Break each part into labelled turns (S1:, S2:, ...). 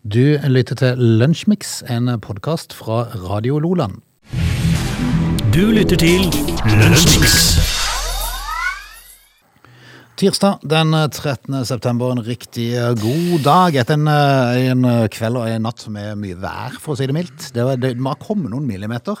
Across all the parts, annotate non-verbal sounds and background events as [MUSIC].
S1: Du lytter til Lunsjmix, en podkast fra Radio Loland.
S2: Du lytter til Lunsjmix.
S1: Tirsdag den 13. september, en riktig god dag etter en, eh, en kveld og en natt med mye vær, for å si det mildt. Det, var, det må ha kommet noen millimeter.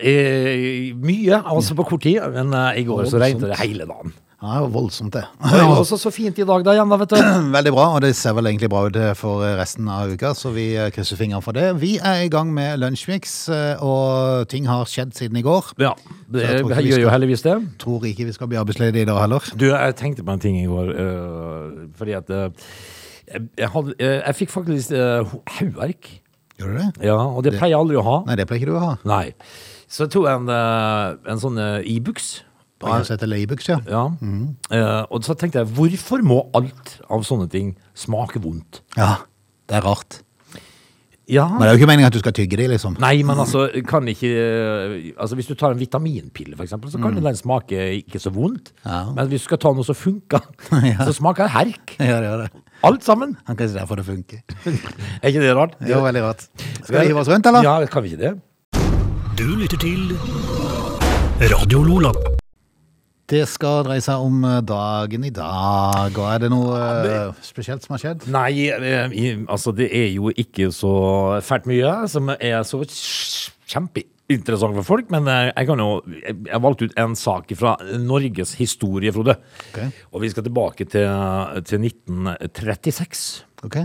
S3: Eh, mye, altså på kort tid, men eh, i går så
S1: Voldsomt.
S3: regnet det hele dagen.
S1: Ja, det var voldsomt, det.
S3: Og Det var også så fint i dag da igjen, da, vet du.
S1: [LAUGHS] Veldig bra, og det ser vel egentlig bra ut eh, for resten av uka, så vi eh, krysser fingrene for det. Vi er i gang med Lunsjmix, eh, og ting har skjedd siden i går.
S3: Ja, det
S1: jeg tror ikke vi
S3: gjør
S1: skal-
S3: jo heldigvis det.
S1: Tror ikke vi skal bli arbeidsledige i dag heller.
S3: Du, jeg tenkte på en ting i går, eh, fordi at eh, jeg, jeg hadde, eh, jeg fikk faktisk eh, ho- hauverk.
S1: Gjør du det?
S3: Ja, og det pleier jeg aldri å ha.
S1: Nei, det pleier ikke du å ha.
S3: Nei. Så jeg tok en, eh, en sånn eh, Ibux.
S1: Bare å sette leibuks, ja.
S3: Ja. Eh, og så tenkte jeg, hvorfor må alt av sånne ting smake vondt?
S1: Ja, det er rart.
S3: Ja.
S1: Men det er jo ikke meningen at du skal tygge de, liksom.
S3: Nei, men altså, kan ikke eh, Altså, hvis du tar en vitaminpille, for eksempel, så kan den smake ikke så vondt.
S1: Mm. Ja.
S3: Men hvis du skal ta noe som funker,
S1: [LAUGHS] Ja.
S3: så smaker det herk.
S1: Ja, det gjør det.
S3: Alt sammen.
S1: Han kan si derfor det funker.
S3: Er ikke det rart?
S1: Det er jo veldig rart. Skal vi hive oss rundt, eller?
S3: Ja, kan vi ikke det?
S2: Du lytter til Radio Lola.
S1: Det skal dreie seg om eh, dagen i dag, og er det noe eh, spesielt som har skjedd?
S3: Nei, eh, i- altså, det er jo ikke så fælt mye som er så kjempeinteressant for folk, men eh, jeg kan jo Jeg jeg valgte ut en sak fra Norges historie, Frode.
S1: Ok.
S3: Og vi skal tilbake til, til 1936.
S1: Ok.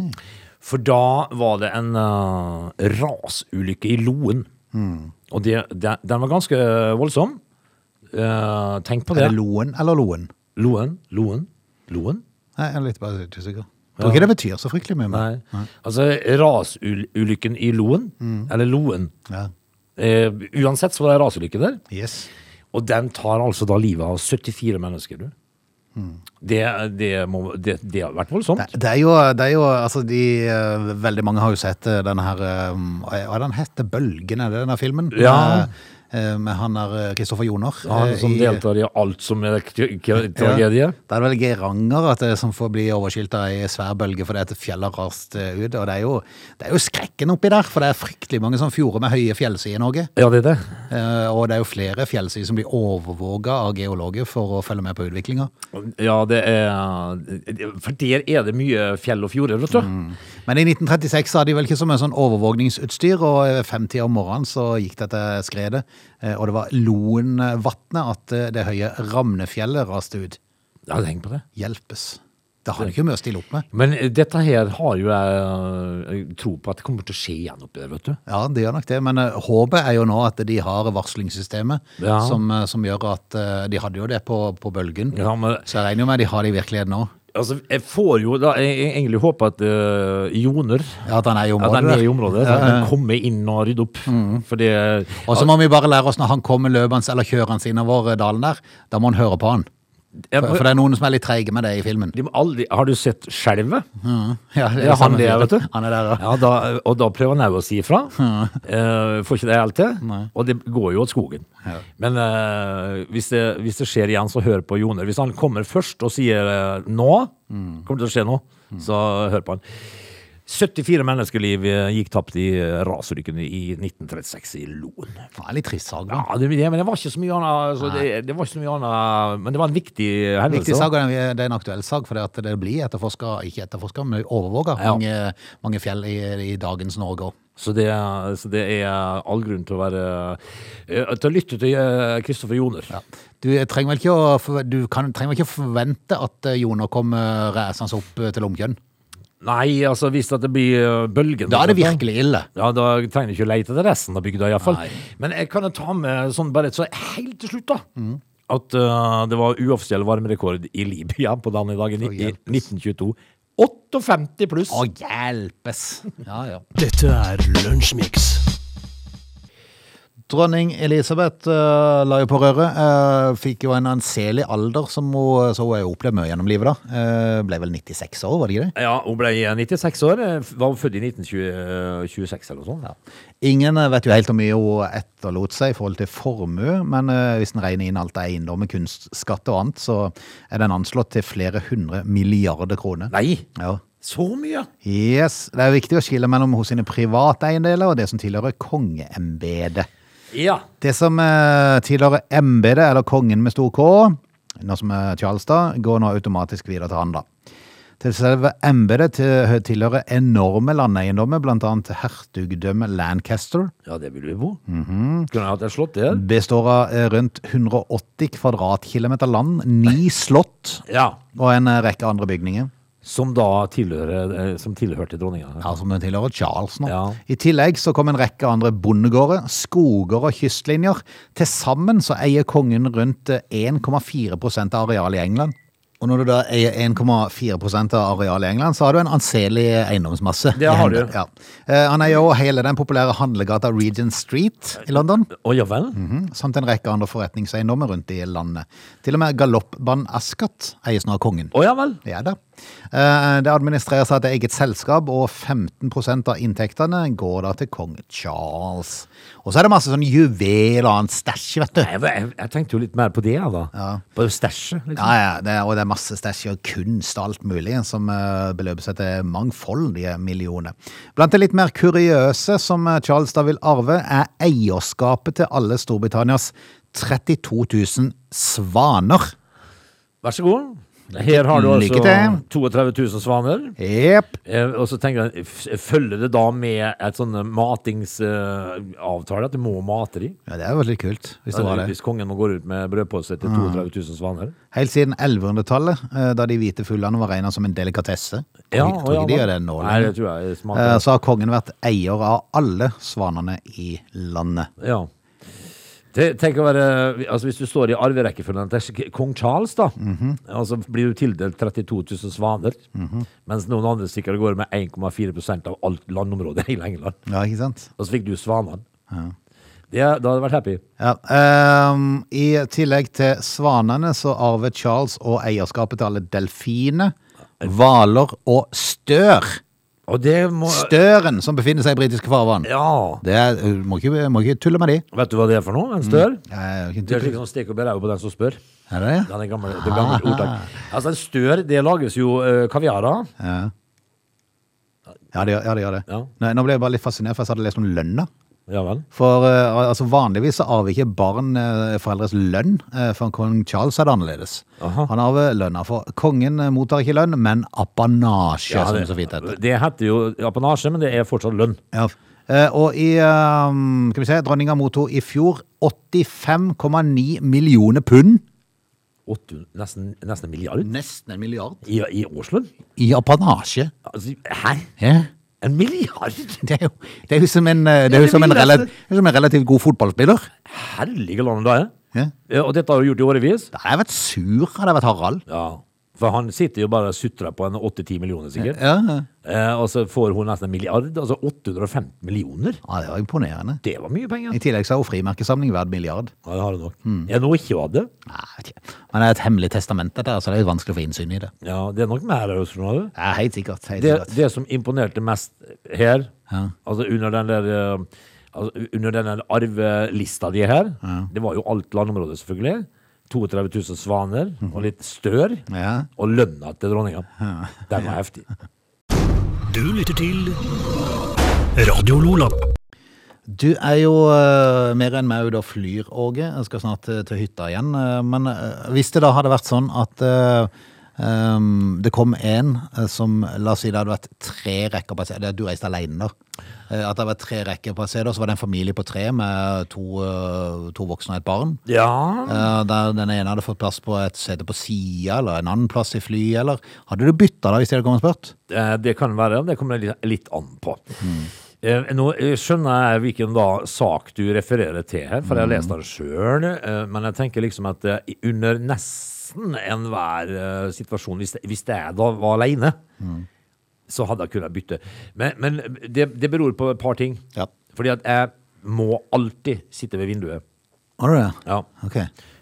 S3: For da var det en eh, rasulykke i Loen.
S1: Mm.
S3: Og det, det, den var ganske voldsom. Eh, tenk på det.
S1: Er det loen eller loen?
S3: Loen? Loen? Loen?
S1: Nei, jeg er litt bare usikker. Jeg tror ikke det betyr så fryktelig mye. men-
S3: Nei. Altså rasulykken i Loen,
S1: Mm.
S3: eller Loen.
S1: Ja.
S3: Eh, uansett så var det en rasulykke der.
S1: Yes.
S3: Og den tar altså da livet av 74 mennesker, du.
S1: Mm.
S3: Det, det, må, det, det har vært voldsomt.
S1: Det, det, er jo, det er jo, altså de, eh, veldig mange har jo sett eh, denne her, eh, hva er den heter, Bølgen, er det denne filmen?
S3: Ja.
S1: Eh, eh, Med han der, eh, Kristoffer Joner.
S3: Han
S1: eh,
S3: som
S1: i-
S3: deltar i alt som er k- k- tragedie.
S1: Ja. Det er vel Geiranger at det som får bli overskylt av ei svær bølge fordi at fjellet har rast eh, ut. Og det er, jo, det er jo skrekken oppi der, for det er fryktelig mange sånne fjorder med høye fjellsider i Norge.
S3: Ja, det er det.
S1: Eh, og det er jo flere fjellsider som blir overvåga av geologer for å følge med på utviklinga.
S3: Ja, det er For der er det mye fjell og fjorder, vet du.
S1: Mm. Men i 1936 så hadde de vel ikke så mye sånn overvåkningsutstyr, og eh, femtida om morgenen så gikk dette skredet, eh, og det var Loenvatnet at eh, det høye Ramnefjellet raste ut.
S3: Ja, tenk på det.
S1: Hjelpes. Det har de ikke mye å stille opp med.
S3: Men dette her har jo jeg eh, tro på at det kommer til å skje igjen oppi der, vet du.
S1: Ja, det gjør nok det, men eh, håpet er jo nå at de har varslingssystemet
S3: Ja.
S1: som, eh, som gjør at eh, de hadde jo det på, på bølgen.
S3: Ja, men
S1: Så jeg regner jo med de har det i virkeligheten nå.
S3: altså, jeg får jo da Jeg jeg egentlig håper at eh, Joner
S1: Ja, at han er i
S3: At
S1: området.
S3: han er i
S1: der.
S3: området, så han kan komme inn og rydde opp. For det
S1: Mm. Og så må vi bare lære oss når han kommer løpende eller kjørende innover eh, dalen der, da må han høre på han.
S3: Jeg-
S1: For, for det er noen som er litt treige med det i filmen.
S3: de må aldri, Har du sett skjelvet?
S1: Ja, det
S3: Ja, han
S1: samme
S3: det,
S1: fyren.
S3: vet du.
S1: Han er der, ja.
S3: Ja, da, og da prøver han òg å si [LAUGHS] ifra. Eh, får ikke det helt til. Og det går jo åt skogen. Men eh, hvis, det, hvis det skjer igjen, så hør på Joner. Hvis han kommer først og sier eh, 'nå', kommer det til å skje nå, så hør på han. 74 menneskeliv eh, gikk tapt i eh, rasulykken i 1936 i Loen.
S1: Det er litt trist sag, da.
S3: Ja, det, det, men det var ikke så mye annet, så det, det var ikke så mye annet Men det var en viktig hendelse.
S1: Viktig
S3: da.
S1: sag, og det er- det er en aktuell sag, for det, at det blir etterforska, ikke etterforska, men overvåka
S3: Ja.
S1: mange, mange fjell i, i dagens Norge òg.
S3: Så det, så det er all grunn til å være eh, Til å lytte til eh, Kristoffer Joner.
S1: Ja. Du trenger vel ikke å, forve- du kan, trenger vel ikke å forvente at eh, Joner kommer reisende opp eh, til Lomkjønn?
S3: Nei, altså hvis at det blir eh, bølgen
S1: Da er det virkelig ille.
S3: Ja, da trenger du ikke å leite etter resten av bygda iallfall.
S1: Nei.
S3: Men jeg kan jo ta med sånn bare så helt til slutt, da.
S1: Mm.
S3: At eh, det var uoffisiell varmerekord i Libya på denne dagen i, i
S1: hjelpes.
S3: 1922. 58 pluss!
S1: Å, hjelpes! Ja, ja.
S2: Dette er Lunsjmix.
S1: Dronning Elisabeth eh, la jo på røret. eh, fikk jo en anselig alder, som hun, eh, så hun har jo opplevd mye gjennom livet. da. Eh, ble vel 96 år, var det ikke det?
S3: Ja, hun ble 96 år. eh, Var hun født i 1926 eller noe sånt?
S1: Ingen eh, vet jo helt hvor mye hun etterlot seg i forhold til formue, men eh, hvis en regner inn alt av eiendommer, kunstskatter og annet, så er den anslått til flere hundre milliarder kroner.
S3: Nei!
S1: Ja.
S3: Så mye!
S1: Yes, Det er viktig å skille mellom hos sine private eiendeler og det som tilhører kongeembedet.
S3: Ja.
S1: Det som eh, tilhører embedet, eller kongen med stor K, nå som er Charles da, går nå automatisk videre til han da. Til selve embedet til- tilhører enorme landeiendommer, blant annet hertugdømmet Lancaster,
S3: Ja, det ville vi bo.
S1: Mhm.
S3: Kunne jeg hatt et slott der?
S1: består av eh, rundt 180 kvadratkilometer land, ni slott
S3: Ja.
S1: og en eh, rekke andre bygninger.
S3: Som da tilhører, eh, som tilhørte dronninga.
S1: Ja, som tilhører Charles nå.
S3: Ja.
S1: I tillegg så kom en rekke andre bondegårder, skoger og kystlinjer. Til sammen så eier kongen rundt eh, 1,4 prosent av arealet i England. Og når du da eier 1,4 prosent av arealet i England, så har du en anselig eiendomsmasse.
S3: Det
S1: i
S3: har
S1: hendene.
S3: du.
S1: Ja. Eh, Han eier også hele den populære handlegata Regent Street i London,
S3: Å ja vel?
S1: mhm, samt en rekke andre forretningseiendommer rundt i landet. Til og med galoppbanen Ascot eies nå av kongen.
S3: Å ja vel?
S1: Ja da. Eh, Det administreres av et eget selskap, og 15 av inntektene går da til kong Charles. Og så er det masse sånn juvel og annet stæsj, vet du.
S3: Jeg, jeg, jeg tenkte jo litt mer på det, jeg, da. På stæsjet, liksom.
S1: Ja, ja, det er, og det er masse stæsj og kunst og alt mulig som eh, beløper seg til mangfoldige millioner. Blant det litt mer kuriøse som eh, Charles da vil arve, er eierskapet til alle Storbritannias 32 000 svaner.
S3: Vær så god. Her har du altså
S1: Lykke til.
S3: 32 000 svaner.
S1: Jepp.
S3: Eh, Og så tenker jeg, f- følger det da med et sånn matingsavtale, at du må mate dem?
S1: Ja, det er jo veldig kult, hvis det var det. Mm.
S3: Hvis kongen må gå ut med brødpose til 32 000 svaner?
S1: Helt siden 1100-tallet, eh, da de hvite fuglene var regna som en delikatesse.
S3: Ja,
S1: tror, tror
S3: ja,
S1: ikke de
S3: da.
S1: gjør det nå
S3: Nei, det
S1: lenger.
S3: tror jeg er smart.
S1: Eh, Så har kongen vært eier av alle svanene i landet.
S3: Ja. Te- Tenk å være, altså Hvis du står i arverekkefølgen til k- kong Charles, da,
S1: Mhm.
S3: og så blir du tildelt 32 000 svaner, mens noen andre stikker av gårde med 1,4 av alt landområdet i hele England,
S1: Ja, ikke sant?
S3: og så fikk du svanene. Det, da hadde jeg vært happy.
S1: Ja, ehm, I tillegg til svanene så arvet Charles og eierskapet til alle delfiner, hvaler og stør.
S3: Og det må
S1: Støren som befinner seg i britiske farvann.
S3: Ja.
S1: Det er, du må, ikke, må ikke tulle med de.
S3: Vet du hva det er for noe? En stør?
S1: Eh,
S3: Det er
S1: ikke-
S3: slik som stek og belære på den som spør.
S1: Er det
S3: Det
S1: det?
S3: er det gamle, det
S1: Ah.
S3: gamle ordtak. Altså, en stør, det lages jo eh, kaviar av.
S1: Ja. Ja, det gjør ja, det. Gjør det.
S3: Ja.
S1: Nei, nå ble jeg bare litt fascinert, for jeg hadde lest om lønna.
S3: Ja vel.
S1: For eh, altså vanligvis så avviker barn eh, foreldres lønn. Eh, for kong Charles er det annerledes.
S3: Aha.
S1: Han arver lønna. For kongen eh, mottar ikke lønn, men apanasje,
S3: Ja,
S1: som
S3: det,
S1: det så fint heter.
S3: det heter jo apanasje, men det er fortsatt lønn.
S1: Ja. Eh, og i eh, Skal vi se, dronninga mottok i fjor 85,9 millioner pund.
S3: Åtte- nesten, nesten en milliard
S1: Nesten en milliard.
S3: i, i årslønn.
S1: I apanasje.
S3: Altså, hæ?
S1: Ja.
S3: En milliard?
S1: Det er jo, det er jo som en, eh, det er jo
S3: det
S1: som en,
S3: vil jeg
S1: rela- det er som en relativt god fotballspiller.
S3: Herlige land det er.
S1: Ja.
S3: Ja, og dette har du gjort i årevis.
S1: Da hadde jeg vært sur, hadde jeg vært Harald.
S3: Ja. For han sitter jo bare og sutrer på en 8-10 millioner, sikkert.
S1: Ja, ja.
S3: Eh, og så får hun nesten en milliard. Altså 850 millioner.
S1: ja det var imponerende.
S3: Det var mye penger. Mm.
S1: I tillegg så er jo frimerkesamling verdt milliard.
S3: Ja, det har du nok. Er det noe ikke hadde?
S1: Nei, jeg vet ikke. Men det er et hemmelig testament, dette, her, så det er jo vanskelig å få innsyn i det.
S3: Ja, det er nok mer av det.
S1: Ja, helt sikkert. Helt
S3: Det,
S1: sikkert.
S3: det som imponerte mest her,
S1: Ja.
S3: altså under den der eh, altså under den der arvelista di her, det var jo alt landområdet, selvfølgelig. 32 000 svaner og litt stør.
S1: Ja.
S3: Og lønna til dronninga. Den var
S1: [LAUGHS]
S3: heftig.
S2: Du lytter til Radio Lola.
S1: Du er jo eh, mer enn meg ute og flyr, Åge. Jeg skal snart eh, til hytta igjen. eh, men eh, hvis det da hadde vært sånn at eh, ehm, det kom en eh, som, la oss si det hadde vært tre rekker på et sted, du reiste alene da, Eh, at det hadde vært tre rekker på et sted, og så var det en familie på tre med to, eh, to voksne og et barn.
S3: Ja
S1: Eh, Der den ene hadde fått plass på et sete på sida, eller en annen plass i flyet, eller Hadde du bytta da, hvis de hadde kommet og spurt?
S3: Eh, Det kan være, det kommer litt, litt an på. Eh, Nå eh, skjønner jeg hvilken da sak du refererer til her, for jeg har lest den sjøl. Men jeg tenker liksom at eh, under nesten enhver eh, situasjon, hvis, hvis jeg da var aleine, så hadde jeg kunnet bytte. Men, men det, det beror på et par ting.
S1: Ja.
S3: Fordi at jeg må alltid sitte ved vinduet.
S1: Har du det?
S3: Ja.
S1: Ok.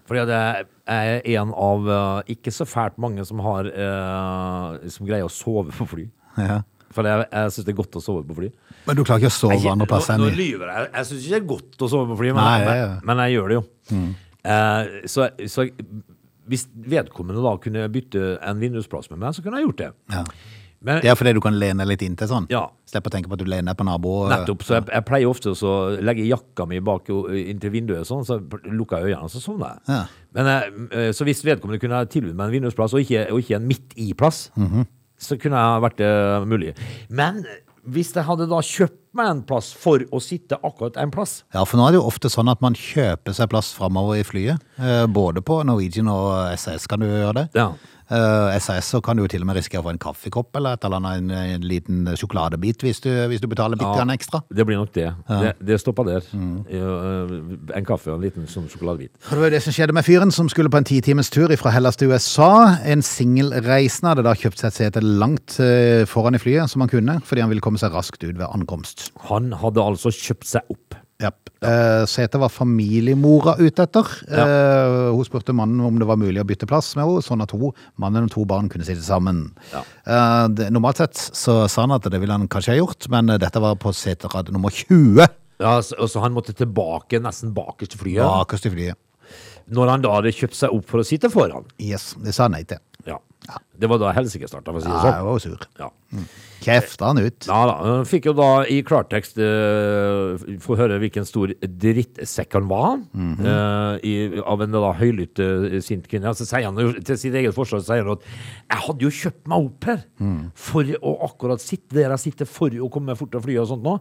S3: Fordi at jeg er en av eh, ikke så fælt mange som, har, eh, som greier å sove på fly.
S1: Ja.
S3: For jeg, jeg syns det er godt å sove på fly.
S1: Men du klarer ikke å sove andre plasser
S3: Altså,
S1: enn
S3: nå, nå
S1: i
S3: lyver jeg. Jeg syns ikke det er godt å sove på fly, men,
S1: Nei, ja, Mm. ja.
S3: men, men jeg gjør det jo. Eh, så, så hvis vedkommende da kunne bytte en vindusplass med meg, så kunne jeg gjort det.
S1: ja.
S3: Men,
S1: Det er fordi du kan lene deg litt inntil sånn?
S3: Ja.
S1: Slipp å tenke på at du lener deg på nabo? eh,
S3: Nettopp. Så jeg, jeg pleier ofte å legge jakka mi bak jo- inntil vinduet, sånn, så jeg lukker jeg øynene, så sovner jeg.
S1: Ja.
S3: Men jeg. Så hvis vedkommende kunne ha tilbudt meg en vindusplass, og ikke, og ikke en midt i-plass, så kunne jeg vært eh, mulig. Men hvis jeg hadde da kjøpt meg en plass for å sitte akkurat en plass
S1: Ja, for nå er det jo ofte sånn at man kjøper seg plass framover i flyet. Eh, Både på Norwegian og SAS kan du gjøre det.
S3: Ja.
S1: Eh, SAS så kan du jo til og med risikere å få en kaffekopp eller et eller annet, en, en liten sjokoladebit hvis du, hvis du betaler bitte grann ekstra.
S3: Det blir nok det. Det, det stopper der. Eh, En kaffe og en liten sånn sjokoladebit.
S1: Og det var jo det som skjedde med fyren som skulle på en titimers tur fra Hellas til USA. En singelreisende hadde da kjøpt seg et sete langt eh, foran i flyet som han kunne, fordi han ville komme seg raskt ut ved ankomst.
S3: Han hadde altså kjøpt seg opp.
S1: Japp. Eh, Setet var familiemora ute etter. Eh, hun spurte mannen om det var mulig å bytte plass med henne, sånn at hun, mannen og to barn kunne sitte sammen.
S3: Ja.
S1: Eh, det, normalt sett så sa han at det ville han kanskje ha gjort, men eh, dette var på seterad nummer 20
S3: Ja, så, og så han måtte tilbake nesten bakerst i flyet.
S1: bakerst i flyet.
S3: Når han da hadde kjøpt seg opp for å sitte foran.
S1: Yes, det sa han nei til.
S3: Ja. Det var da helsike starta, for å si
S1: Ja,
S3: det
S1: jeg
S3: sånn.
S1: var jo sur.
S3: Ja.
S1: Kjefta han ut.
S3: ja da. Han fikk jo da i klartekst eh, få høre hvilken stor drittsekk han var, eh, i, av en da høylytt eh, sint kvinne. Så sier han jo til sitt eget forsvar så sier han at 'jeg hadde jo kjøpt meg opp her for å akkurat sitte der jeg sitter for å komme fort og fly og sånt nå'.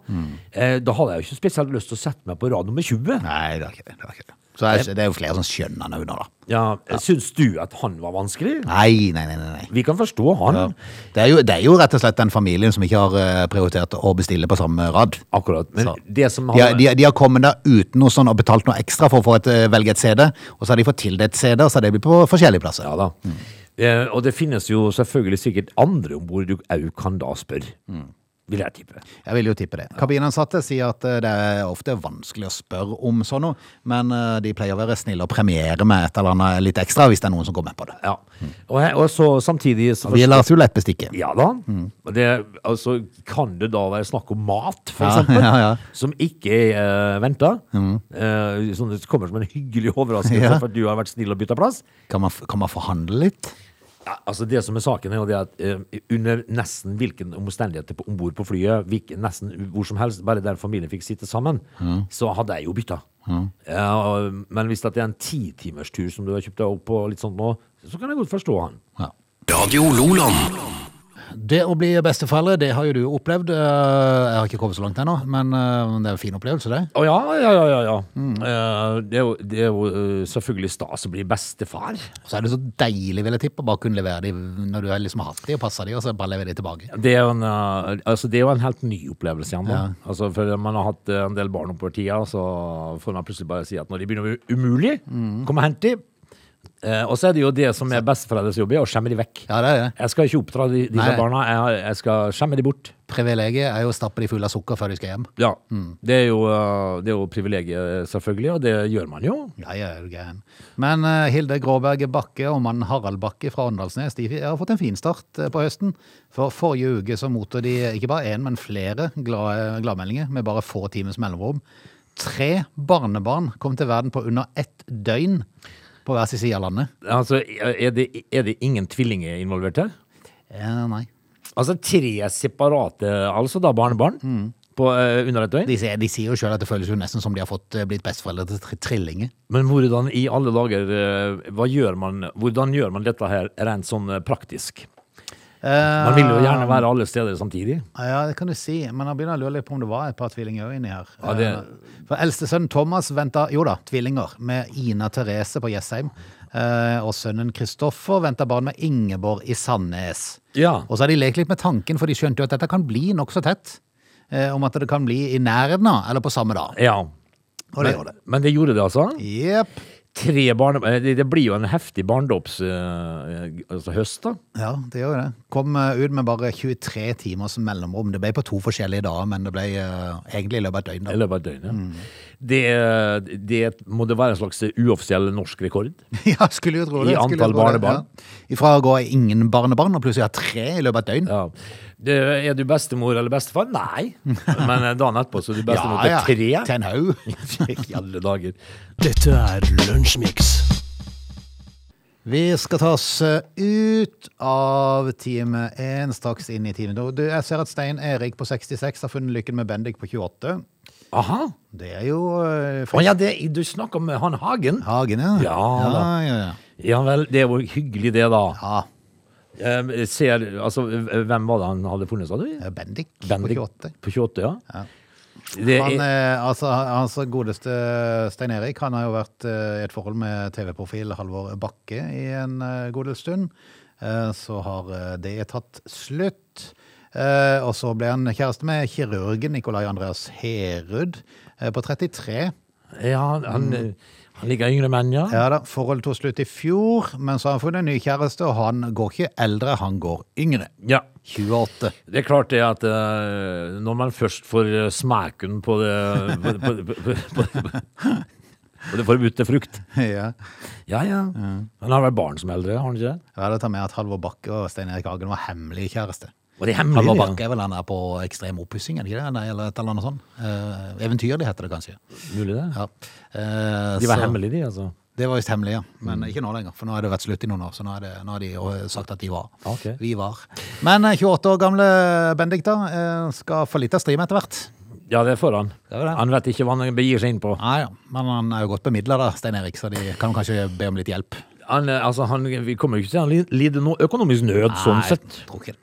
S3: Eh, da hadde jeg jo ikke spesielt lyst til å sette meg på rad nummer 20.
S1: Nei, det var ikke det. det, var ikke det. Så jeg, det er jo flere som skjønner han under, da.
S3: Ja, Syns du at han var vanskelig?
S1: Nei, nei, nei. nei, nei.
S3: Vi kan forstå han.
S1: Det, er jo, det er jo rett og slett den familien som ikke har eh, prioritert å bestille på samme rad.
S3: Akkurat. Men
S1: Så.
S3: det som han
S1: De, har- de, har- de har kommet der uten noe sånn og betalt noe ekstra for å få et, eh, velge et CD, og så har de fått tildelt CD, og så har de blitt på forskjellige plasser.
S3: Ja da. Eh, og det finnes jo selvfølgelig sikkert andre om bord du òg kan da spørre. Vil jeg tippe.
S1: Jeg vil jo tippe det. Kabinansatte sier at eh, det er ofte vanskelig å spørre om sånn noe, men eh, de pleier å være snille og premiere med et eller annet litt ekstra hvis det er noen som går med på det.
S3: Ja. Og, he- og så samtidig så
S1: Vi lar oss jo lett bestikke.
S3: Ja da. Og Det, altså, kan det da være snakk om mat, for
S1: Ja, [LAUGHS]
S3: eksempel?
S1: ja, ja.
S3: Som ikke er uh, venta? sånn, det kommer som en hyggelig overraskelse
S1: Ja.
S3: for at du har vært snill og bytta plass?
S1: Kan man, f- kan man forhandle litt?
S3: Ja, altså Det som er saken, er jo det at eh, under nesten hvilken omstendighet om bord på flyet, hvilken, nesten hvor som helst, bare der familien fikk sitte sammen, så hadde jeg jo bytta. Ja, og- men hvis det er en titimerstur som du har kjøpt deg opp på, litt sånt nå, så kan jeg godt forstå han.
S1: Ja.
S2: Radio Loland.
S1: Det å bli besteforeldre, det har jo du opplevd. Eh, Jeg har ikke kommet så langt ennå, men eh, det er en fin opplevelse, det.
S3: Å ja, ja, ja. ja, ja. Eh, det er jo, det er jo eh, selvfølgelig stas å bli bestefar.
S1: Og så er det så deilig, vil jeg tippe, å bare kunne levere de når du har liksom hatt de og passa de, og så bare levere de tilbake.
S3: Det er, jo en, eh, altså, det er jo en helt ny opplevelse igjen. da. Altså, for man har hatt eh, en del barn oppover tida, så får man plutselig bare si at når de begynner å bli umulige,
S1: Mm.
S3: kom og hent de. Eh, og så er det jo det som er besteforeldres jobb, er å skjemme de vekk.
S1: Ja, det er det.
S3: Jeg skal ikke oppdra de, disse
S1: Nei.
S3: barna, jeg, jeg skal skjemme de bort.
S1: Privilegiet er jo å stappe de fulle av sukker før de skal hjem.
S3: Ja,
S1: Mm.
S3: det, er jo, eh, det er jo privilegiet eh, selvfølgelig, og det gjør man jo.
S1: Ja, ja, er du gæren. Men eh, Hilde Gråberg Bakke og mannen Harald Bakke fra Åndalsnes de har fått en fin start eh, på høsten. For forrige uke så mottok de ikke bare én, men flere glade gladmeldinger med bare få timers mellomrom. Tre barnebarn kom til verden på under ett døgn på hver sin side av landet.
S3: Altså, er det, er det ingen tvillinger involvert her?
S1: Eh, nei.
S3: Altså tre separate altså da, barnebarn
S1: Mm.
S3: på, eh, under et døgn?
S1: De, sier- de sier jo sjøl at det føles jo nesten som de har fått eh, blitt besteforeldre til tri- trillinger.
S3: Men hvordan i alle dager eh, hva gjør man, Hvordan gjør man dette her rent sånn eh, praktisk?
S1: Eh,
S3: Man vil jo
S1: Ah.
S3: gjerne være alle steder samtidig.
S1: Ja, det kan du si, men jeg begynner å lure litt på om det var et par tvillinger også inni her.
S3: Ja, det-
S1: Eh, For eldste sønnen Thomas venta Jo da, tvillinger, med Ina Therese på Jessheim. eh, Og sønnen Kristoffer venta barn med Ingeborg i Sandnes.
S3: Ja.
S1: Og så har de lekt litt med tanken, for de skjønte jo at dette kan bli nokså tett. eh, Om at det kan bli i nærheten av, eller på samme dag.
S3: ja.
S1: Og det gjorde det.
S3: Men det gjorde det, altså?
S1: Jepp.
S3: tre barne... eh, Det det blir jo en heftig barndoms... eh, altså høst, da.
S1: Ja, det gjør jo det. Kom eh, ut med bare 23 timers mellomrom. Det ble på to forskjellige dager, men det ble eh, egentlig i løpet av et døgn.
S3: I
S1: da.
S3: løpet av et døgn, ja.
S1: Mm.
S3: Det, det må det være en slags eh, uoffisiell norsk rekord.
S1: [LAUGHS] Ja, skulle jo tro det. skulle
S3: I
S1: jo
S3: antall
S1: tro det,
S3: barnebarn.
S1: Ja. Ifra å gå ingen barnebarn, og plutselig ha tre i løpet av et døgn.
S3: Ja. Det, er du bestemor eller bestefar? Nei.
S1: [LAUGHS]
S3: Men eh, dagen etterpå så er du bestemor til
S1: Til
S3: tre.
S1: en haug.
S3: [LAUGHS] I alle dager.
S2: Dette er Lunsjmix.
S1: Vi skal ta oss eh, ut av time én, straks inn i time to. Du, Jeg ser at Stein Erik på 66 har funnet lykken med Bendik på 28.
S3: Aha.
S1: Det er jo eh,
S3: Å
S1: fri-
S3: ja, det, du snakker om han Hagen.
S1: Hagen, ja.
S3: Ja,
S1: ja,
S3: da.
S1: ja, ja.
S3: Ja vel, det var hyggelig det, da.
S1: ja.
S3: Eh, ser, altså, hvem var det han hadde funnet, sa du?
S1: det er Bendik,
S3: Bendik-
S1: på 28.
S3: På 28, ja. Det
S1: Han,
S3: er,
S1: eh, altså, hans godeste Stein Erik han har jo vært eh, i et forhold med TV-profil Halvor Bakke i en eh, god del stund. Eh, Så har eh, det tatt slutt. Eh, Og så ble han kjæreste med kirurgen Nikolai Andreas Herud eh, på 33.
S3: ja, han, han liker yngre menn, eh, mm. ja.
S1: Ja da, Forholdet tok slutt i fjor, men så har han funnet en ny kjæreste, og han går ikke eldre, han går yngre.
S3: ja.
S1: 28.
S3: Det er klart det at eh, når man først får eh, smaken på det På, på, på, på, på, på det forbudte frukt.
S1: [LAUGHS] Ja.
S3: Ja, ja. Han har vært barn som eldre, har han ikke det?
S1: Ja, da tar jeg med at Halvor Bakke og Stein Erik Hagen var hemmelige kjærester.
S3: Og det er
S1: Halvor
S3: hemmelig. ja.
S1: Bakke er vel han der på ekstrem oppussing, er det ikke det? Nei, eller et eller annet sånt. Eh, eventyrlig heter det kanskje.
S3: Mulig det.
S1: Ja. Eh,
S3: De var
S1: så-
S3: hemmelige, Mm. de, altså.
S1: Det var visst hemmelig, ja. Men ikke nå lenger, for nå har det vært slutt i noen år. Så nå har, det, nå har de jo sagt at de var.
S3: Ah, Ok.
S1: Vi var. Men eh, 28 år gamle Bendik da, eh, skal få litt av stream etter hvert.
S3: Ja, det får han.
S1: Det er det.
S3: Han vet ikke hva han begir seg inn på.
S1: Nei, ja. Men han er jo godt bemidla da, Stein Erik, så de kan kanskje be om litt hjelp.
S3: Han, eh, altså, han, vi kommer jo ikke til å li- lide noe økonomisk nød, sånn
S1: Nei,
S3: sett.
S1: tror ikke det.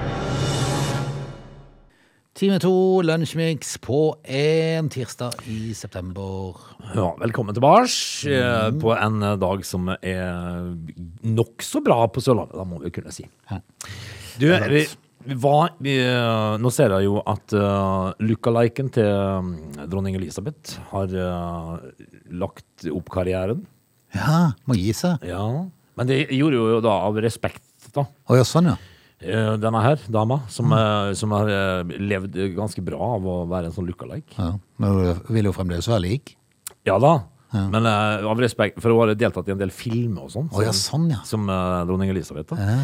S1: Time to, lunsjmix på en tirsdag i september.
S3: Ja, velkommen tilbake eh, på en eh, dag som er nokså bra på Sørlandet, da må vi kunne si. Du, vi, hva, vi, eh, nå ser jeg jo at uh, lookaliken til eh, dronning Elisabeth har eh, lagt opp karrieren.
S1: Ja, må gi seg.
S3: Ja. Men det gjorde hun jo da av respekt, da.
S1: Å ja, sånn ja.
S3: Eh, Denne her, dama, som, eh, som har eh, levd eh, ganske bra av å være en sånn lookalike.
S1: ja. Men hun vil jo fremdeles være lik.
S3: Ja da, men eh, av respekt, for hun har deltatt i en del filmer og sånn.
S1: Å ja,
S3: som-
S1: sånn ja.
S3: Som eh, dronning Elisabeth. da.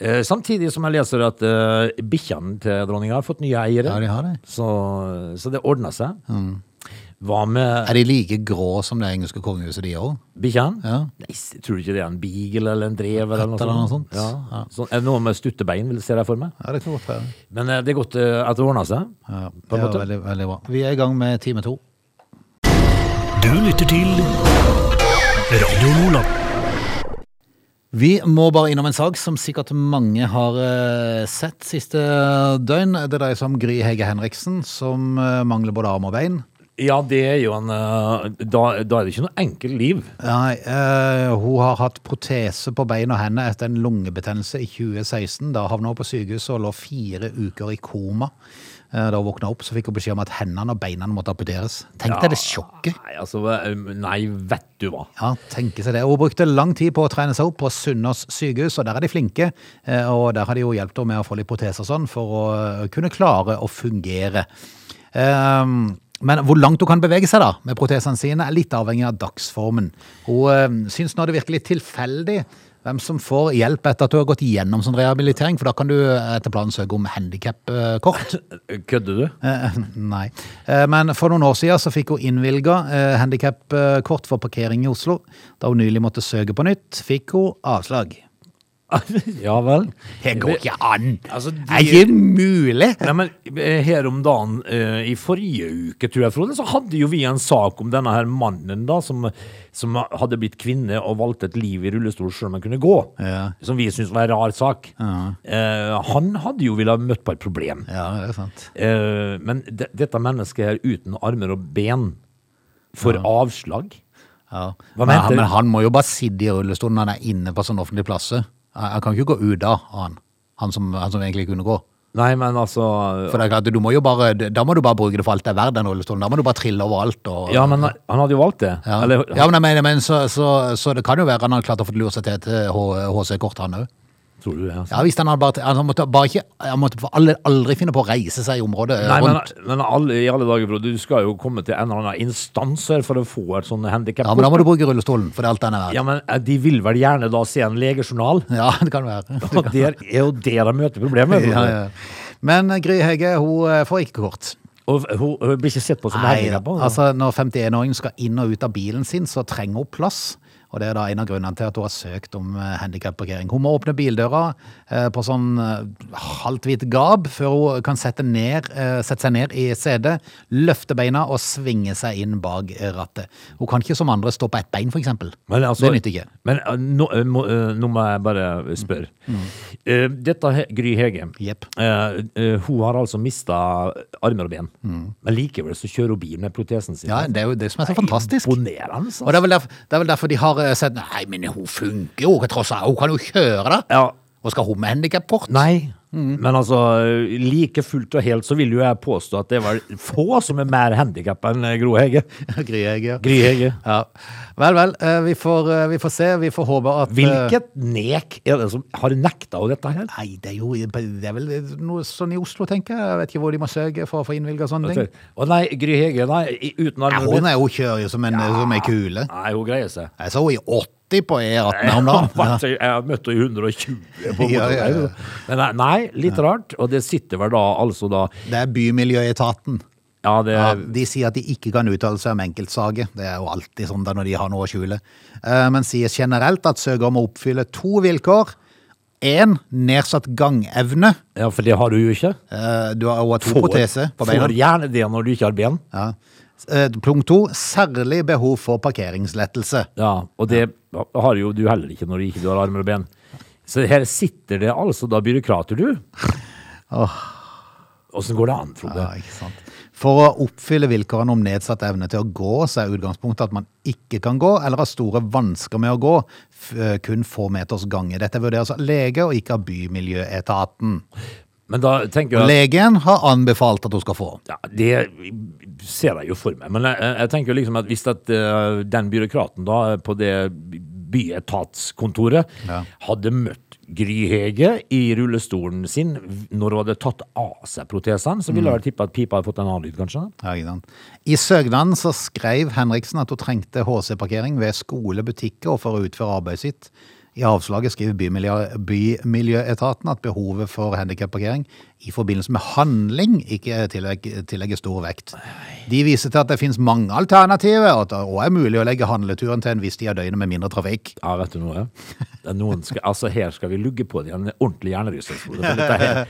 S3: Eh, Samtidig som jeg leser at uh, bikkjene til dronninga har fått nye eiere.
S1: Ja, de har det.
S3: Så, så det ordna seg. Hva med
S1: Er de like grå som det engelske kongehuset, de òg?
S3: bikkjene?
S1: Ja.
S3: Nei, s- tror du ikke det er en beagle eller en drever? Eller noe
S1: eller noe sånt.
S3: Ja. Sånn, er det noe med stuttebein, vil- ser jeg for meg.
S1: Ja, det kan godt være.
S3: Men eh, det er godt eh, at det ordna seg.
S1: Ja,
S3: På en
S1: ja
S3: måte.
S1: veldig, veldig bra. Vi er i gang med time to.
S2: Du lytter til Radio Lola.
S1: Vi må bare innom en sak som sikkert mange har eh, sett siste døgn. Det dreier seg om Gry Hege Henriksen, som eh, mangler både arm og bein.
S3: Ja, det er jo en eh, Da, da er det ikke noe enkelt liv.
S1: Nei, eh, hun har hatt protese på bein og hender etter en lungebetennelse i 2016. Da havna hun på sykehuset og lå fire uker i koma. Eh, da hun våkna opp, så fikk hun beskjed om at hendene og beina måtte amputeres. Tenk deg det sjokket!
S3: Nei, altså, eh, nei, vet du hva.
S1: Ja, tenke seg det. Hun brukte lang tid på å trene seg opp på Sunnaas sykehus, og der er de flinke. Eh, Og der har de jo hjulpet henne med å få litt proteser og sånn, for å eh, kunne klare å fungere. Ehm, Men hvor langt hun kan bevege seg da, med protesene sine, er litt avhengig av dagsformen. Hun eh, syns nå det virker litt tilfeldig hvem som får hjelp etter at hun har gått gjennom sånn rehabilitering, for da kan du eh, etter planen søke om eh, handikapkort. [LAUGHS]
S3: Kødder du?
S1: Eh, Nei. Eh, Men for noen år siden så fikk hun eh, innvilga handikapkort for parkering i Oslo. Da hun nylig måtte søke på nytt, fikk hun avslag.
S3: ja vel.
S1: Det går ikke an!
S3: Altså, de-
S1: Det er ikke mulig!
S3: Nei, men eh, Her om dagen eh, i forrige uke, tror jeg, Frode, så hadde jo vi en sak om denne her mannen da, som, som hadde blitt kvinne og valgte et liv i rullestol selv om han kunne gå.
S1: Ja.
S3: Som vi syntes var en rar sak. Eh, han hadde jo villet møtt på et problem.
S1: Ja, det er sant.
S3: Eh, men de, dette mennesket her uten armer og ben for avslag
S1: Ja.
S3: Hva
S1: Men,
S3: mente
S1: han-
S3: du?
S1: men han må jo bare sitte i rullestolen når han er inne på sånn offentlig plass. Han han kan ikke gå ut da, han. Han som, han som egentlig kunne gå.
S3: Nei, men altså
S1: For det er klart, du må jo bare, da må du bare bruke det for alt det er verdt, den rullestolen. Da må du bare trille over alt. Og,
S3: Ja, men han hadde jo valgt det.
S1: Ja.
S3: Eller,
S1: ja, men jeg mener, men så, så, så det kan jo være han har klart å få lure seg til et eh, H- HC-kort, han òg.
S3: tror du det? Altså?
S1: Ja, hvis han hadde bare, han måtte bare ikke Han måtte for alle- aldri finne på å reise seg i området eh,
S3: Nei, men,
S1: rundt.
S3: men alle, i alle dager, Frode, du skal jo komme til en eller annen instans her for å få et sånt handikap.
S1: Ja, men da må du bruke rullestolen, for det er alt den er verdt.
S3: Ja, men eh, de vil vel gjerne da se en legejournal?
S1: [LAUGHS] Ja, det kan være.
S3: Og der er jo der de møter problemet.
S1: [LAUGHS] Ja,
S3: Frode.
S1: ja. Men Gry Hegge, hun eh, får ikke kort.
S3: Og hun, hun blir ikke sett på som
S1: Nei,
S3: handikappa?
S1: altså når 51-åringen skal inn og ut av bilen sin, så trenger hun plass. Og det er da en av grunnene til at hun har søkt om eh, handikapparkering. Hun må åpne bildøra eh, på sånn eh, halvt hvitt gab før hun kan sette, ned, eh, sette seg ned i setet, løfte beina og svinge seg inn bak eh, rattet. Hun kan ikke som andre stå på ett bein, for eksempel.
S3: Men altså-
S1: det nytter ikke.
S3: Men eh, nå, eh, må, eh, nå må jeg bare spørre.
S1: Mm.
S3: Eh, Dette he- Gry Hege,
S1: Jepp.
S3: eh, eh, hun har altså mista armer og ben. Men likevel så kjører hun bil med protesen sin.
S1: Mm. Ja, det er jo det som er så fantastisk.
S3: Imponerende. altså.
S1: Og det er, vel derfor, det er vel derfor de har eh, sett Nei, men hun funker jo, tross alt. Hun kan jo kjøre, da.
S3: Ja,
S1: Og skal hun med handikapkort?
S3: Nei, [LAUGHS]
S1: Mm.
S3: men altså like fullt og helt så vil jo jeg påstå at det var få som er mer handikappa enn Gro Hege.
S1: Gry Hegge.
S3: Gry Hege.
S1: Ja. Vel, vel. eh, Vi får, eh, vi får se. Vi får håpe at eh,
S3: Hvilket nek er det som har nekta henne dette her?
S1: Nei, det er jo det er vel noe sånn i Oslo, tenker jeg. Jeg vet ikke hvor de må søke for å få innvilga sånne ting.
S3: Å nei, Gry Hege, nei, i- uten
S1: Nei,
S3: armer og
S1: hun
S3: ben.
S1: er jo kjører jo som en, som en kule.
S3: Nei, hun greier seg.
S1: Jeg så henne i 80 på E18 her om
S3: [LAUGHS]
S1: dagen.
S3: Jeg har møtt henne i 120 på
S1: [LAUGHS] Ja, ja, ja.
S3: motorveien. Men nei, nei, litt rart. Og det sitter vel da altså da
S1: Ja. Det er Bymiljøetaten.
S3: Ja, det
S1: Ja, de sier at de ikke kan uttale seg om enkeltsaker. Det er jo alltid sånn da når de har noe å skjule. Eh, Men sier generelt at søker om å oppfylle to vilkår. Én nedsatt gangevne.
S3: Ja, for det har du jo ikke.
S1: Eh, Du har også to
S3: Får-
S1: proteser på beina.
S3: Får gjerne det når du ikke har ben.
S1: Ja. Eh, Punkt to, særlig behov for parkeringslettelse.
S3: Ja, og det har jo du heller ikke når du ikke du har armer og ben. Så her sitter det altså da byråkrater, du. Åssen går det an, Frode?
S1: Ja, ikke sant? For å oppfylle vilkårene om nedsatt evne til å gå, så er utgangspunktet at man ikke kan gå, eller har store vansker med å gå, f eh, kun få meters gange. Dette vurderes av lege og ikke av bymiljøetaten.
S3: Men da tenker jeg at
S1: Legen har anbefalt at hun skal få.
S3: ja, Det ser jeg jo for meg. Men jeg, jeg tenker jo liksom at hvis at eh, den byråkraten da eh, på det byetatskontoret
S1: Ja.
S3: hadde møtt Gry Hege i rullestolen sin når hun hadde tatt av seg protesene, så
S1: Mm.
S3: ville jeg tippe at pipa hadde fått en annen lyd, kanskje.
S1: Ja, ikke sant. I søknaden så skrev Henriksen at hun trengte HC-parkering ved skole, butikker og for å utføre arbeidet sitt. I avslaget skriver Bymiljø, Bymiljøetaten at behovet for handikapparkering i forbindelse med handling ikke tillegg, tillegger stor vekt. De viser til at det finnes mange alternativer, og at det også er mulig å legge handleturen til en viss tid av døgnet med mindre trafikk.
S3: Ja, vet du noe? Det er noen skal, altså her skal vi lugge på det en ordentlig hjernerystelse. for dette
S1: [LAUGHS]
S3: her-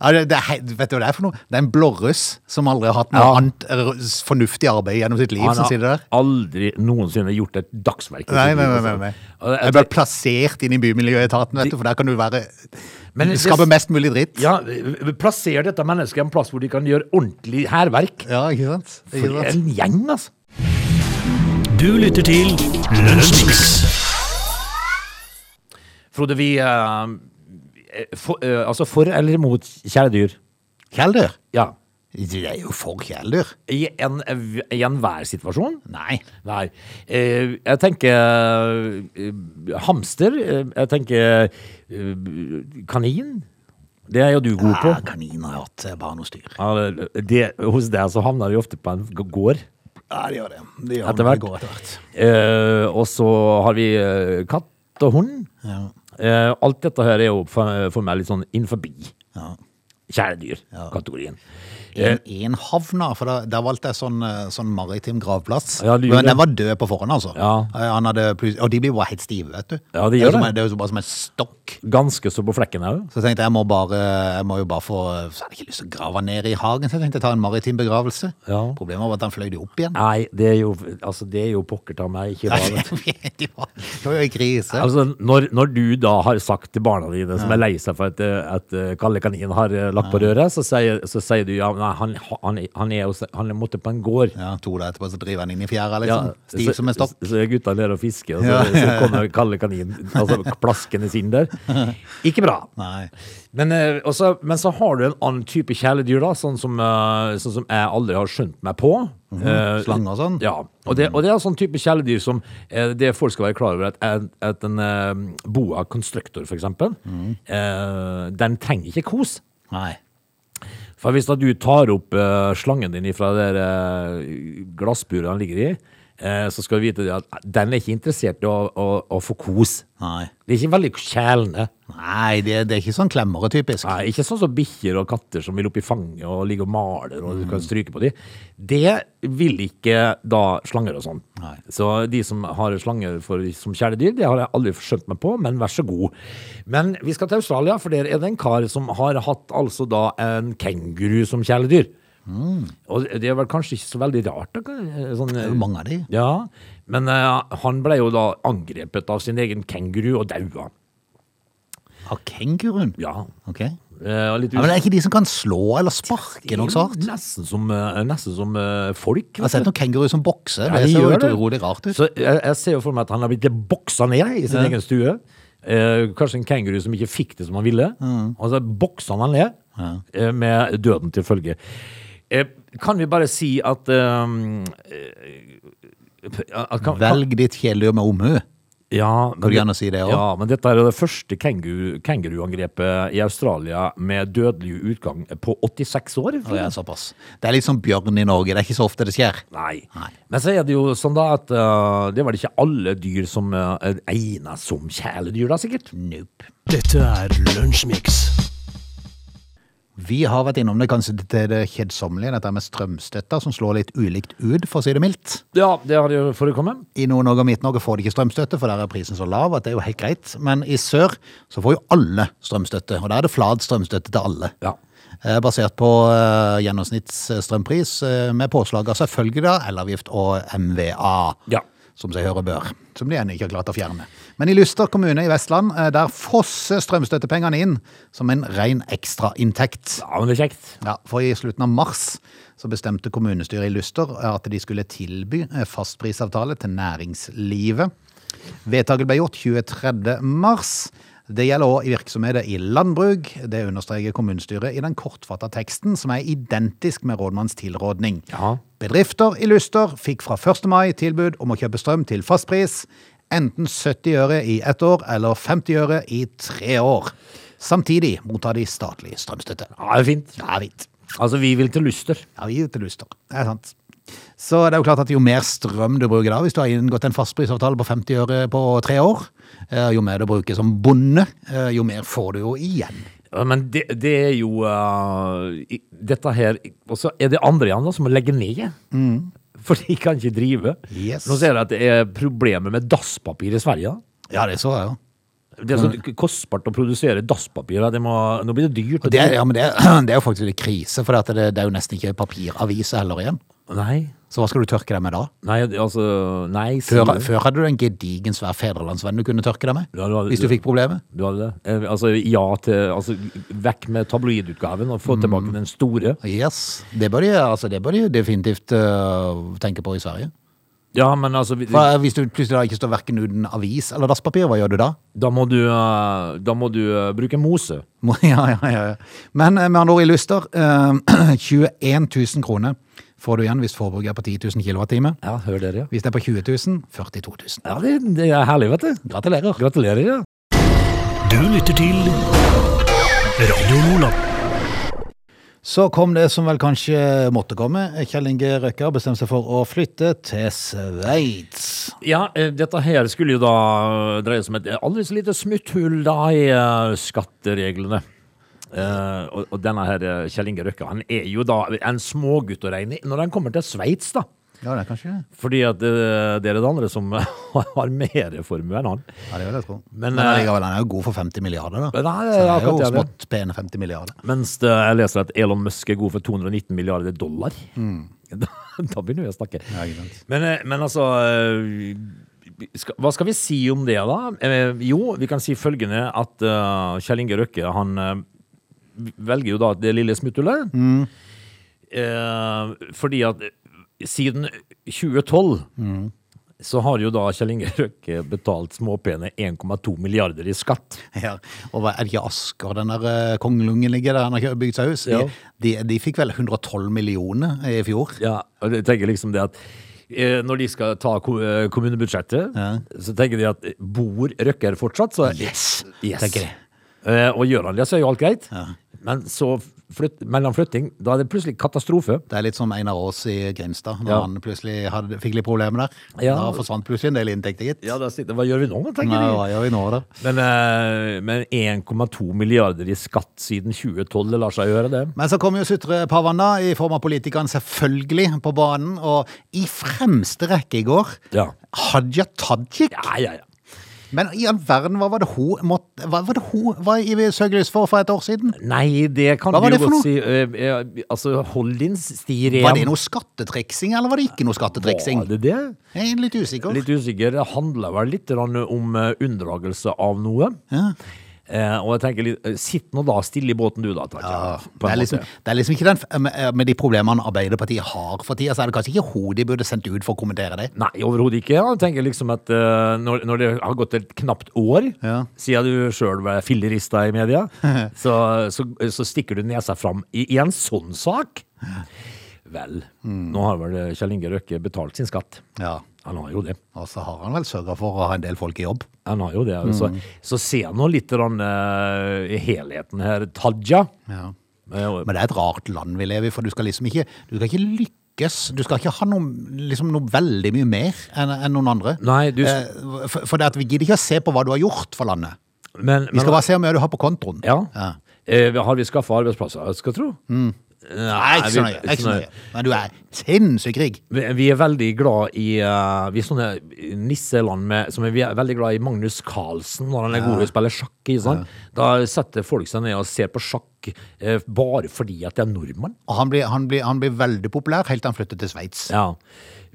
S1: Ja, det, det, er he- vet du hva det er for noe? Det er en blåruss som aldri har hatt noe
S3: Ja.
S1: annet eh, fornuftig arbeid gjennom sitt liv,
S3: Han
S1: som sitter
S3: har
S1: der.
S3: aldri noensinne gjort et dagsverk. i
S1: Nei, nei,
S3: sitt liv,
S1: nei,
S3: altså.
S1: nei, nei.
S3: Og det-
S1: Jeg ble plassert inn i bymiljøetaten, vet du, for der kan du være
S3: Men
S1: Skape
S3: det-
S1: mest mulig dritt.
S3: Ja, plasser dette mennesket en plass hvor de kan gjøre ordentlig hærverk.
S1: Ja, ikke sant?
S3: For
S1: Ikke sant?
S3: en gjeng, altså.
S4: Du lytter til Lunsjmix.
S3: Frode, vi eh, for, eh, Altså, for eller imot kjæledyr?
S1: Kjæledyr?
S3: Ja.
S1: Det er jo for kjæledyr.
S3: I en- i enhver situasjon?
S1: Nei.
S3: Nei. Eh, jeg tenker eh, hamster. eh, Jeg tenker eh, kanin. Det er jo du god på.
S1: Ja, kaniner har hatt eh, bare noe styr.
S3: Ja, det- det, hos deg så havner de ofte på en g- gård
S1: Ja, de gjør det. De gjør
S3: etter
S1: det.
S3: hvert.
S1: Det går etter hvert.
S3: Eh, og så har vi eh, katt og hund. Eh, alt dette her er jo for, for meg litt sånn innenfor
S1: Ja.
S3: kjæledyr-kategorien.
S1: inn i en havna, for da, der valgte jeg sånn, eh, sånn maritim gravplass.
S3: Ja, du gjorde
S1: Men
S3: det.
S1: den var død på forhånd, altså.
S3: Ja.
S1: Eh, Han hadde plut- og de blir jo bare helt stive, vet du.
S3: Ja, de
S1: det, er jo
S3: gjør
S1: som,
S3: det.
S1: en- det er jo bare som en stokk.
S3: Ganske så på flekken òg.
S1: Så tenkte jeg, jeg må, bare, jeg må jo bare få Så hadde jeg ikke lyst til å grave han ned i hagen, så jeg tenkte jeg ta en maritim begravelse.
S3: Ja.
S1: Problemet var at han fløy de opp
S3: [LAUGHS]
S1: igjen.
S3: Nei, det er jo, altså, det er jo pokker ta meg ikke bra. vet
S1: [LAUGHS]
S3: du.
S1: de var de var jo i krise.
S3: Altså, når, når du da har sagt til barna dine som er lei seg for at, eh, at eh, Kalle Kanin har eh, lagt på røret, så sier, så sier du ja, nei, han, han, han er hos- han er måtte på en gård.
S1: Ja, to dager etterpå så driver han inn i fjæra,
S3: Ja,
S1: liksom. Stiv
S3: så-
S1: som en stokk.
S3: Så er gutta nede og fisker, og så,
S1: Ja, ja,
S3: så kommer Kalle Kanin altså, plaskende
S1: [LAUGHS]
S3: inn der. Ikke bra.
S1: Nei.
S3: Men, eh, også, men så har du en annen type kjæledyr, da, sånn som, eh, sånn som jeg aldri har skjønt meg på. Eh,
S1: Slange Mhm. og sånn?
S3: Ja. Og det, og det er sånn type kjæledyr som eh, det folk skal være klar over, at, en- at en eh, boa constrictor, for eksempel,
S1: Mhm.
S3: eh, den trenger ikke kos.
S1: Nei.
S3: For hvis da du tar opp eh, slangen din fra det uh, glassburet den ligger i, eh, så skal du vite det at den er ikke interessert i å, å, å få kos.
S1: Nei.
S3: De er ikke veldig kjælende.
S1: Nei, det, det er ikke sånn klemmere, typisk.
S3: Nei, ikke sånn som bikkjer og katter som vil opp i fanget og ligge og maler og du
S1: Mm.
S3: kan stryke på dem. Det vil ikke da slanger og sånn.
S1: Nei.
S3: Så de som har slanger for, som kjæledyr, det har jeg aldri skjønt meg på, men vær så god. Men vi skal til Australia, for der er det en kar som har hatt altså da en kenguru som kjæledyr. Og det er vel kanskje ikke så veldig rart. Da. kan- Sånn,
S1: Mm. Det er jo mange av de.
S3: ja, men eh, han ble jo da angrepet av sin egen kenguru og daua.
S1: Av kenguruen?
S3: Ja.
S1: Ok. Ja,
S3: Eh, og litt
S1: men det er ikke de som kan slå eller sparke noe så hardt?
S3: Nesten som, eh, nesten som eh, folk.
S1: Jeg har sett noen kenguruer som bokser. Altså, Det
S3: Ja, de
S1: ser jo
S3: gjør
S1: ut-
S3: det.
S1: utrolig rart ut.
S3: Så jeg, jeg ser jo for meg at han har blitt boksa ned i sin egen stue. Eh, kanskje en kenguru som ikke fikk det som han ville. Og så boksa han ned, eh, med døden til følge. Eh, kan vi bare si at, eh, eh, at kan, kan,
S1: Velg ditt kjæledyr med omhu.
S3: Ja, men
S1: du gjerne si det også?
S3: Ja, men dette er jo det første kenguru, kenguruangrepet i Australia med dødelig utgang på 86 år.
S1: Og Det er såpass. Det er litt som bjørn i Norge. Det er ikke så ofte det skjer.
S3: Nei.
S1: Nei.
S3: Men så er det jo sånn da at eh, det var det ikke alle dyr som uh, egnet som kjæledyr da, sikkert.
S1: Nope.
S4: Dette er Lunsjmix.
S1: Vi har vært innom det kanskje til det kjedsommelige, dette med strømstøtter som slår litt ulikt ut, for å si det mildt.
S3: Ja, det har jo forekommet.
S1: I Nord-Norge og Midt-Norge får de ikke strømstøtte, for der er prisen så lav at det er jo helt greit. Men i sør så får jo alle strømstøtte, og da er det flat strømstøtte til alle.
S3: Ja.
S1: Eh, Basert på eh, gjennomsnittsstrømpris, eh, med påslag av selvfølgelig da, elavgift og MVA.
S3: Ja.
S1: Som seg høre bør. Som de ennå ikke har klart å fjerne. Men i Luster kommune i Vestland, eh, der fosser strømstøttepengene inn som en ren ekstrainntekt.
S3: ja, men det er kjekt.
S1: Ja, for i slutten av mars så bestemte kommunestyret i Luster at de skulle tilby eh, fastprisavtale til næringslivet. Vedtaket ble gjort 23. mars. Det gjelder òg virksomheter i landbruk. Det understreker kommunestyret i den kortfatta teksten, som er identisk med rådmannens tilrådning.
S3: Ja.
S1: Bedrifter i Luster fikk fra 1. mai tilbud om å kjøpe strøm til fastpris, enten 70 øre i ett år eller 50 øre i tre år. Samtidig mottar de statlig strømstøtte.
S3: Ja, det er fint.
S1: Ja, jeg vet.
S3: Altså, vi vil til lyster.
S1: Ja, vi er til lyster. Det er sant. Så det er jo klart at jo mer strøm du bruker da, hvis du har inngått en fastprisavtale på 50 øre på tre år, eh, jo mer du bruker som bonde, eh, jo mer får du jo igjen.
S3: Ja, Men det, det er jo eh, i- Dette her Og så er det andre igjen da som må legge ned. For de kan ikke drive.
S1: Mm. Yes.
S3: Nå ser jeg at det er problemer med dasspapir i Sverige. da.
S1: Ja, det så jeg jo.
S3: Det er så kostbart å produsere dasspapir. da. Det må, nå blir det dyrt.
S1: Mm. Og det, er- ja, men det, er- [CLEARS THROAT] det er jo faktisk litt krise, for det, det er jo nesten ikke papiravis heller igjen.
S3: Nei,
S1: Så hva skal du tørke deg med da?
S3: nei, altså Nei, sier
S1: Før,
S3: du.
S1: før hadde du en gedigen svær fedrelandsvenn du kunne tørke deg med,
S3: Ja, det var-
S1: hvis du fikk problemet.
S3: Du hadde det? Eh, Altså ja til altså, Vekk med tabloidutgaven og få
S1: Mm.
S3: tilbake den store.
S1: Yes, det bør de, altså, det bør de definitivt øh, tenke på i Sverige.
S3: Ja, men altså vi-
S1: Hva, hvis du plutselig da ikke står verken uten avis eller dasspapir, hva gjør du da?
S3: Da må du, eh, da må du eh, bruke mose.
S1: Må- [LAUGHS] Ja, ja, ja. ja. Men eh, med andre ord i Luster, eh, [CLEARS THROAT] 21 000 kroner får du igjen hvis forbruket er på 10 000 kWh.
S3: Ja, hør dere, ja.
S1: Hvis det er på 20 000, 42 000.
S3: Ja, det, det er herlig, vet du. Gratulerer. Gratulerer, ja.
S4: Du lytter til Radio Nordland.
S1: Så kom det som vel kanskje måtte komme. Kjell Inge Røkker bestemte seg for å flytte til Sveits.
S3: Ja, eh, dette her skulle jo da dreie seg om et aldri så lite smutthull da i eh, skattereglene. Eh, og, og denne her eh, Kjell Inge Røkke, han er jo da en smågutt å regne i når han kommer til Sveits, da.
S1: Ja, det er kanskje det.
S3: Fordi at eh, det er det andre som [LAUGHS] har mer formue enn han.
S1: Ja, det vil jeg tro.
S3: Men,
S1: Men,
S3: eh,
S1: allikevel, den er jo god for 50 milliarder, da.
S3: Men nei,
S1: Så det er
S3: akkurat
S1: jo
S3: det er det.
S1: smått pene 50 milliarder.
S3: Mens det, jeg leser at Elon Musk er god for 219 milliarder dollar.
S1: Mm.
S3: [LAUGHS] Da, da begynner vi å snakke.
S1: Ja, ikke sant.
S3: Men, eh, men altså eh, skal, Hva skal vi si om det, da? Eh, Jo, vi kan si følgende at eh, Kjell Inge Røkke han eh, velger jo da det lille smutthullet. Eh, fordi at eh, siden 2012 så har jo da Kjell Inge Røkke betalt småpene 1,2 milliarder i skatt.
S1: Ja. Og hva er det ikke Asker, den der eh, kongelungen ligger der, han har ikke bygd seg hus?
S3: Ja.
S1: De, de, de fikk vel 112 millioner i fjor?
S3: Ja, og jeg tenker liksom det at eh, når de skal ta ko- eh, kommunebudsjettet, så tenker de at eh, bor Røkker fortsatt, så
S1: Yes,
S3: yes.
S1: tenker de.
S3: Eh, og gjør han det, så er jo alt greit. Men så flytt, mellom flytting, da er det plutselig katastrofe.
S1: Det er litt som Einar Aas i Grimstad, når
S3: Ja.
S1: han plutselig hadde, fikk litt problemer der.
S3: Ja.
S1: Da forsvant plutselig en del inntekter, gitt.
S3: Ja, da sitter Hva gjør vi nå, tenker
S1: Nei,
S3: de.
S1: hva gjør vi nå, da?
S3: Men, eh, men 1,2 milliarder i skatt siden 2012, det lar seg gjøre, det.
S1: Men så kommer jo sutrepavan da, i form av politikeren selvfølgelig på banen, og i fremste rekke i går,
S3: Ja.
S1: Hadia Tajik.
S3: Ja, ja, ja.
S1: Men i all verden, hva var det hun måtte, hva var det hun var i søkelys for for et år siden?
S3: Nei, det kan
S1: Hva var
S3: du
S1: det
S3: jo
S1: for noe?
S3: godt si. Eh, eh, altså, hold din sti ren.
S1: Var det noe skattetriksing, eller var det ikke noe skattetriksing?
S3: Var det det?
S1: Jeg er litt usikker.
S3: Litt usikker. Det handler vel litt grann om eh, unndragelse av noe.
S1: Ja.
S3: Eh, og jeg tenker litt, eh, Sitt nå da stille i båten du, da. Tatjana,
S1: Ja, det,
S3: på en
S1: er liksom,
S3: måte.
S1: det er liksom ikke den, med, med de problemene Arbeiderpartiet har for tida, så er det kanskje ikke hun de burde sendt ut for å kommentere det.
S3: Nei, overhodet ikke. Jeg tenker liksom at eh, når, når det har gått et knapt år
S1: Ja.
S3: siden du sjøl ble fillerista i
S1: [LAUGHS]
S3: media, så, så, så stikker du nesa fram i, i en sånn sak. Vel,
S1: Mm.
S3: nå har vel eh, Kjell Inge Røkke betalt sin skatt.
S1: Ja,
S3: Han har jo det.
S1: og så har han vel sørga for å ha en del folk i jobb.
S3: Han har jo det. Så,
S1: Mm.
S3: så se nå litt grann, eh, helheten her. Taja.
S1: Ja.
S3: Eh,
S1: Men det er et rart land vi lever i, for du skal liksom ikke, du skal ikke lykkes. Du skal ikke ha noe, liksom noe veldig mye mer enn enn noen andre.
S3: Nei, du-
S1: Eh, For, for det at vi gidder ikke å se på hva du har gjort for landet.
S3: Men,
S1: Vi
S3: men
S1: skal bare se hvor mye du har på kontoen.
S3: ja. Eh, har vi skaffa arbeidsplasser, jeg skal tro?
S1: Mm. Nei, ikke så
S3: vi-
S1: nøye. Ikke så nøye. Men du er sinnssykt rik.
S3: Vi, vi er veldig glad i eh, Vi er sånne nisseland med, som er, vi er veldig glad i Magnus Carlsen når han er god til å spille sjakk. Ikke sant? Da setter folk seg ned og ser på sjakk eh, bare fordi at det er nordmann.
S1: Og han blir, han blir, han blir veldig populær helt til han flytter til Sveits.
S3: Ja.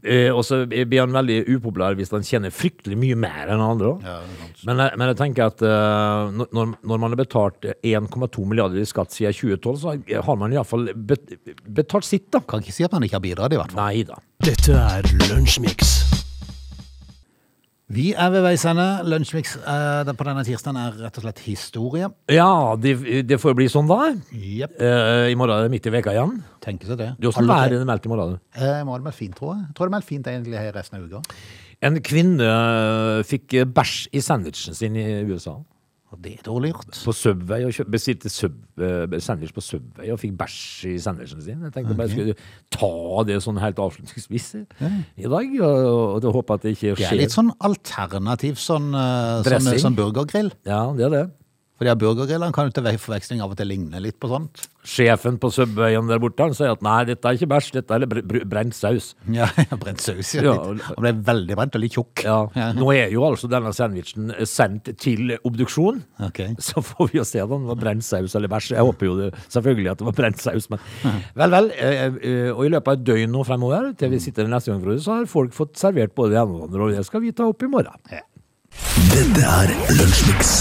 S3: Eh, og så blir han veldig upopulær hvis han tjener fryktelig mye mer enn andre. også.
S1: Ja, det er sant.
S3: men, jeg- men jeg tenker at eh, når- når, når man har betalt 1,2 milliarder i skatt siden 2012, så har man iallfall bet, betalt sitt, da.
S1: Kan ikke si at han ikke har bidratt, i hvert fall.
S3: Nei da.
S4: Dette er Lunsjmix.
S1: Vi er ved veis ende. Lunsjmix eh, den- på denne tirsdagen er rett og slett historie.
S3: Ja, det, det får bli sånn, da.
S1: Jepp.
S3: Eh, I morgen er det midt i veka igjen.
S1: Tenker seg det.
S3: Det er også
S1: Alle-
S3: været meldt i morgen.
S1: Eh, må ha det meldt fint, tror jeg. Tror det er meldt fint egentlig her resten av uka.
S3: En kvinne eh, fikk eh, bæsj i sandwichen sin i USA.
S1: Og Det er dårlig gjort.
S3: På Subway og kjø- bestilte sub, eh, sandwich på Subway og fikk bæsj i sandwichen sin. Jeg tenkte bare jeg skulle ta det sånn helt avslutningsvis i dag, og, og da håper jeg at det ikke
S1: Det
S3: skjer.
S1: er litt sånn alternativ sånn, eh,
S3: Dressing.
S1: sånn, sånn burgergrill.
S3: Ja, det er det.
S1: For de her burgergrillene kan jo til ve- forveksling av og til ligne litt på sånt.
S3: Sjefen på Subwayen der borte han sier at nei, dette er ikke bæsj, dette er br br brent saus.
S1: Ja, [LAUGHS] brent saus. Ja,
S3: Ja,
S1: litt. Han ble veldig brent og litt tjukk.
S3: Ja. Nå er jo altså denne sandwichen sendt til obduksjon.
S1: Ok.
S3: [LAUGHS] Så får vi jo se om det var brent saus eller bæsj. Jeg håper jo det, selvfølgelig at det var brent saus, men vel, vel. eh, eh, Og i løpet av et døgn nå fremover, til vi sitter neste gang, Frode, så har folk fått servert både det ene og det andre, og det skal vi ta opp i morgen.
S2: Dette er Lunsjmix.